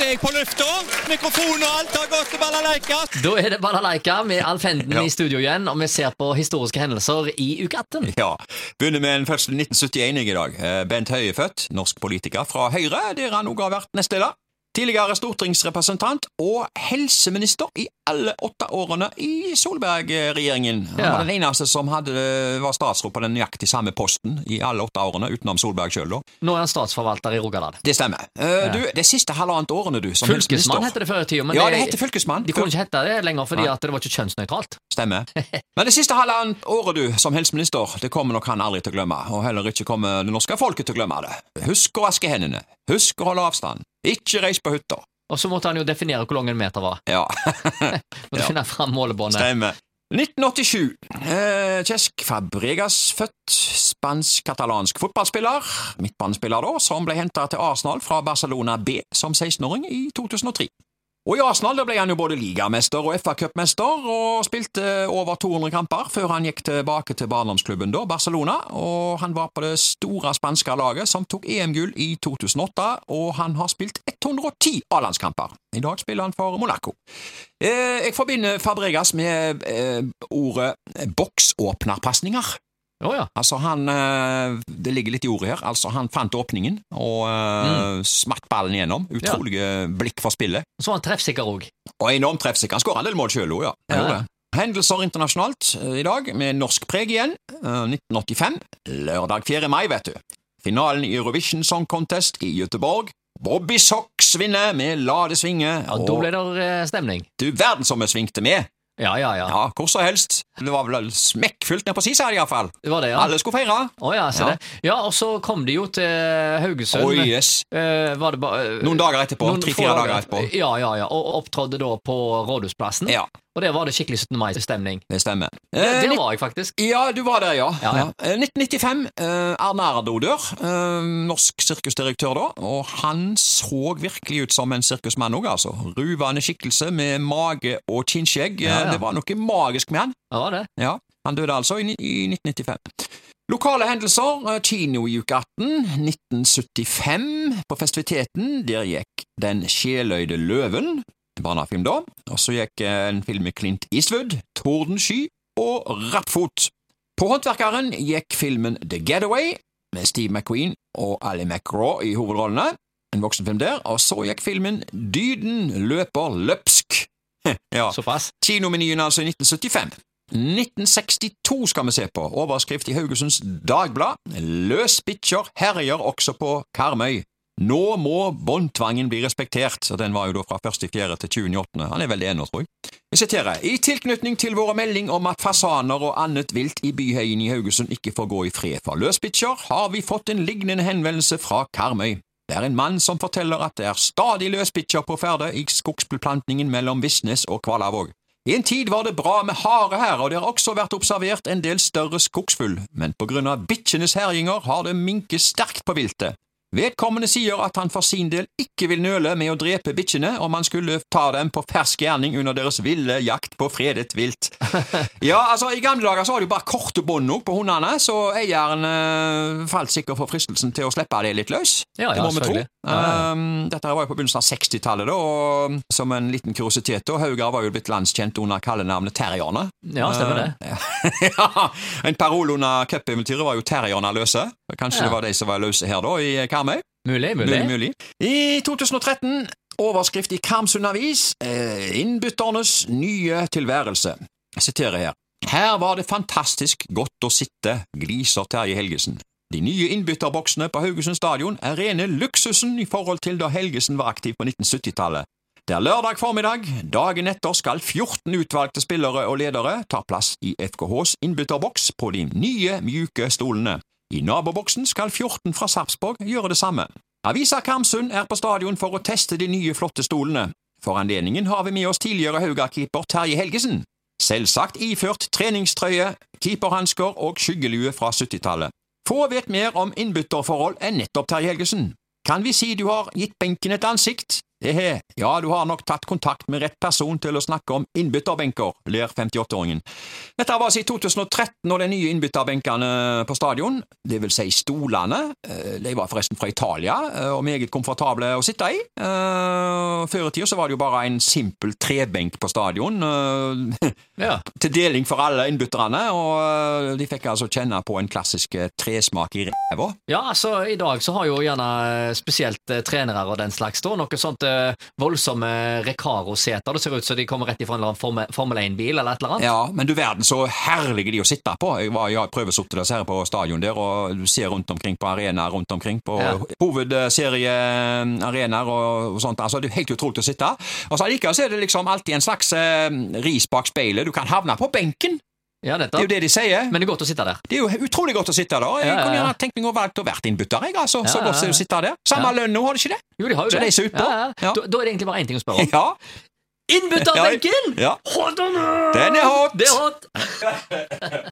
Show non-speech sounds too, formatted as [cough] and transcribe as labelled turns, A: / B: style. A: er jeg på lufta. Mikrofon og alt har gått til balalaika.
B: Da er det balalaika med Alfenden i studio igjen, og vi ser på historiske hendelser i uke 18.
A: Ja. Begynner med en fødsel 1971 i dag. Eh, Bent Høie er født, norsk politiker fra Høyre, der han også har vært nestleder. Tidligere stortingsrepresentant og helseminister i alle åtte årene i Solberg-regjeringen. Han
B: Ja.
A: var den eneste som hadde, eh, var statsråd på den nøyaktig samme posten i alle åtte årene, utenom Solberg sjøl, da.
B: Nå er han statsforvalter i Rogaland.
A: Det stemmer. Eh, Du, det siste halvannet årene, du, som helseminister-
B: Fylkesmann heter det før i tida, men
A: Ja,
B: det-
A: det heter fylkesmann.
B: de kunne ikke hette det lenger fordi at det var ikke kjønnsnøytralt.
A: Stemmer. Men det siste halvannet året du som helseminister, det kommer nok han aldri til å glemme, og heller ikke kommer det norske folket til å glemme det. Husk å vaske hendene, husk å holde avstand, ikke reis på hytta.
B: Og så måtte han jo definere hvor lang en meter var.
A: Ja,
B: Måtte
A: Ja.
B: finne fram målebåndet.
A: stemmer. 1987. Eh, Cesc Fabregas født, spansk-katalansk fotballspiller, midtbanespiller da, som ble henta til Arsenal fra Barcelona B som 16-åring i 2003. Og I Arsenal der ble han jo både ligamester og FA-cupmester, og spilte over 200 kamper før han gikk tilbake til barndomsklubben da, Barcelona. og Han var på det store spanske laget som tok EM-gull i 2008, og han har spilt 110 A-landskamper. I dag spiller han for Monaco. Eh, Jeg forbinder Fabregas med eh, ordet boksåpnerpasninger.
B: Å ja.
A: Altså han, eh, Det ligger litt i ordet her. Altså Han fant åpningen og eh,
B: Mm.
A: smakk ballen gjennom. Utrolige blikk for spillet.
B: Så var han treffsikker òg.
A: Og enormt treffsikker. Han skåra en del mål sjøl òg, ja. Han
B: Ja.
A: gjorde det. Hendelser internasjonalt eh, i dag, med norsk preg igjen. Eh, 1985. Lørdag 4. mai, vet du. Finalen i Eurovision Song Contest i Göteborg. Bobby Socks vinner med La det svinge.
B: Ja, da ble det eh, stemning.
A: du verden som vi svingte med!
B: Ja, ja, ja.
A: Ja, hvor så helst. Det var vel smekkfullt ned på sisa iallfall.
B: Det var det, ja.
A: Alle skulle feire.
B: Å ja, se
A: Ja.
B: det. Ja, og så kom de jo til eh, Haugesund.
A: Oi, yes.
B: Eh, var det bare eh,
A: Noen dager etterpå.
B: noen få
A: Tre-fire dager etterpå.
B: Ja, ja, ja. Og opptrådte da på Rådhusplassen.
A: Ja,
B: Og der var det skikkelig 17. mai-stemning.
A: det stemmer. Eh,
B: Der
A: nitt-
B: var jeg faktisk.
A: ja, du var der, ja.
B: Ja, ja.
A: Eh, 1995. Eh, Arnardo dør. Eh, norsk sirkusdirektør da. Og han så virkelig ut som en sirkusmann òg, altså. Ruvende skikkelse med mage og kinnskjegg. Eh,
B: Ja, ja.
A: Det var noe magisk med han.
B: Ja, var det.
A: Ja, han døde altså i, ni- i 1995. Lokale hendelser, eh, kino i uke 18, 1975, på festiviteten, der gikk Den sjeløyde løven, barnefilm da, og så gikk eh, en film med Clint Eastwood, Tordensky og Rappfot. På Håndverkeren gikk filmen The Getaway, med Steve McQueen og Ali McRaw i hovedrollene, en voksenfilm der, og så gikk filmen Dyden løper løpsk. ja.
B: Såpass.
A: Kinomenyen altså i 1975. 1962 skal vi se på. Overskrift i Haugesunds Dagblad. Løs bikkjer herjer også på Karmøy. Nå må båndtvangen bli respektert. Og den var jo da fra 1.4. til 20.8. Han er vel det ennå, tror jeg. Jeg siterer. I tilknytning til våre melding om at fasaner og annet vilt i byheien i Haugesund ikke får gå i fred for løsbikkjer, har vi fått en lignende henvendelse fra Karmøy. Det er en mann som forteller at det er stadig løsbikkjer på ferde i skogsbeplantningen mellom Visnes og Kvalavåg. I en tid var det bra med hare her, og det har også vært observert en del større skogsfugl, men på grunn av bikkjenes herjinger har det minket sterkt på viltet. Vedkommende sier at han for sin del ikke vil nøle med å drepe bikkjene om han skulle ta dem på fersk gjerning under deres ville jakt på fredet vilt.
B: [laughs]
A: Ja, altså I gamle dager så var det jo bare korte bånd også på hundene, så eieren eh, falt sikkert for fristelsen til å slippe det litt løs.
B: Ja,
A: det
B: ja,
A: må vi tro.
B: selvfølgelig. Eh, Ja, ja.
A: Um, dette her var jo på begynnelsen av 60-tallet, da, og som en liten kuriositet. da, Haugar var jo blitt landskjent under kallenavnet Terrierne.
B: Ja, stemmer det.
A: Eh, [laughs] ja, en parole under cupeventyret var jo 'Terrierne er løse'. Kanskje
B: Ja.
A: det var de som var løse her, da, i Karmøy?
B: Mulig, mulig.
A: Mulig, mulig. I 2013, overskrift i Karmsund Avis, eh, innbytternes nye tilværelse. Jeg siterer her. Her var det fantastisk godt å sitte, gliser Terje Helgesen. De nye innbytterboksene på Haugesund stadion er rene luksusen i forhold til da Helgesen var aktiv på 1970-tallet. Det er lørdag formiddag. Dagen etter skal 14 utvalgte spillere og ledere ta plass i FKHs innbytterboks på de nye, mjuke stolene. I naboboksen skal 14 fra Sarpsborg gjøre det samme. Avisa Karmsund er på stadion for å teste de nye, flotte stolene. For anledningen har vi med oss tidligere Hauga-keeper Terje Helgesen. Selvsagt iført treningstrøye, keeperhansker og skyggelue fra 70-tallet. Få vet mer om innbytterforhold enn nettopp Terje Helgesen. Kan vi si du har gitt benken et ansikt? Ehe, ja, du har nok tatt kontakt med rett person til å snakke om innbytterbenker, ler 58-åringen. Dette var altså i 2013 og de nye innbytterbenkene på stadion, det vil si stolene, eh, de var forresten fra Italia eh, og meget komfortable å sitte i. Eh, Før i tida så var det jo bare en simpel trebenk på stadion, eh,
B: Ja.
A: til deling for alle innbytterne, og eh, de fikk altså kjenne på en klassisk eh, tresmak i ræva.
B: ja, altså i dag så har jo gjerne eh, spesielt eh, trenere og den slags da, noe sånt eh, voldsomme Recaro-seter. Det ser ut som de kommer rett ifra en eller annen Forme- Formel 1-bil eller et eller annet.
A: Ja, men du verden så herlige de å sitte på. Jeg var ja, prøvesorte disse her på stadion der, og du ser rundt omkring på arenaer rundt omkring, på
B: Ja.
A: hovedseriearenaer og, og sånt. Altså, det er helt utrolig å sitte. Og så allikevel så er det liksom alltid en slags eh, ris bak speilet. Du kan havne på benken,
B: Ja,
A: det er
B: nettopp.
A: jo det de sier.
B: Men det er godt å sitte der.
A: Det er jo utrolig godt å sitte der. Jeg
B: Ja, ja,
A: kunne
B: ja.
A: gjerne tenkt meg å valgt å være innbytter, jeg, altså.
B: Ja,
A: Så
B: ja,
A: godt
B: ja.
A: å sitte der. Samme
B: Ja.
A: lønn nå, har de ikke det?
B: Jo, de har jo
A: Så
B: det.
A: de ser ut på.
B: Ja, ja.
A: Ja.
B: Da, da er det egentlig bare én ting
A: [laughs]
B: å spørre om.
A: Ja.
B: Innbytterbenken!
A: Ja.
B: Hot on earth!
A: Den er hot!
B: Det er hot!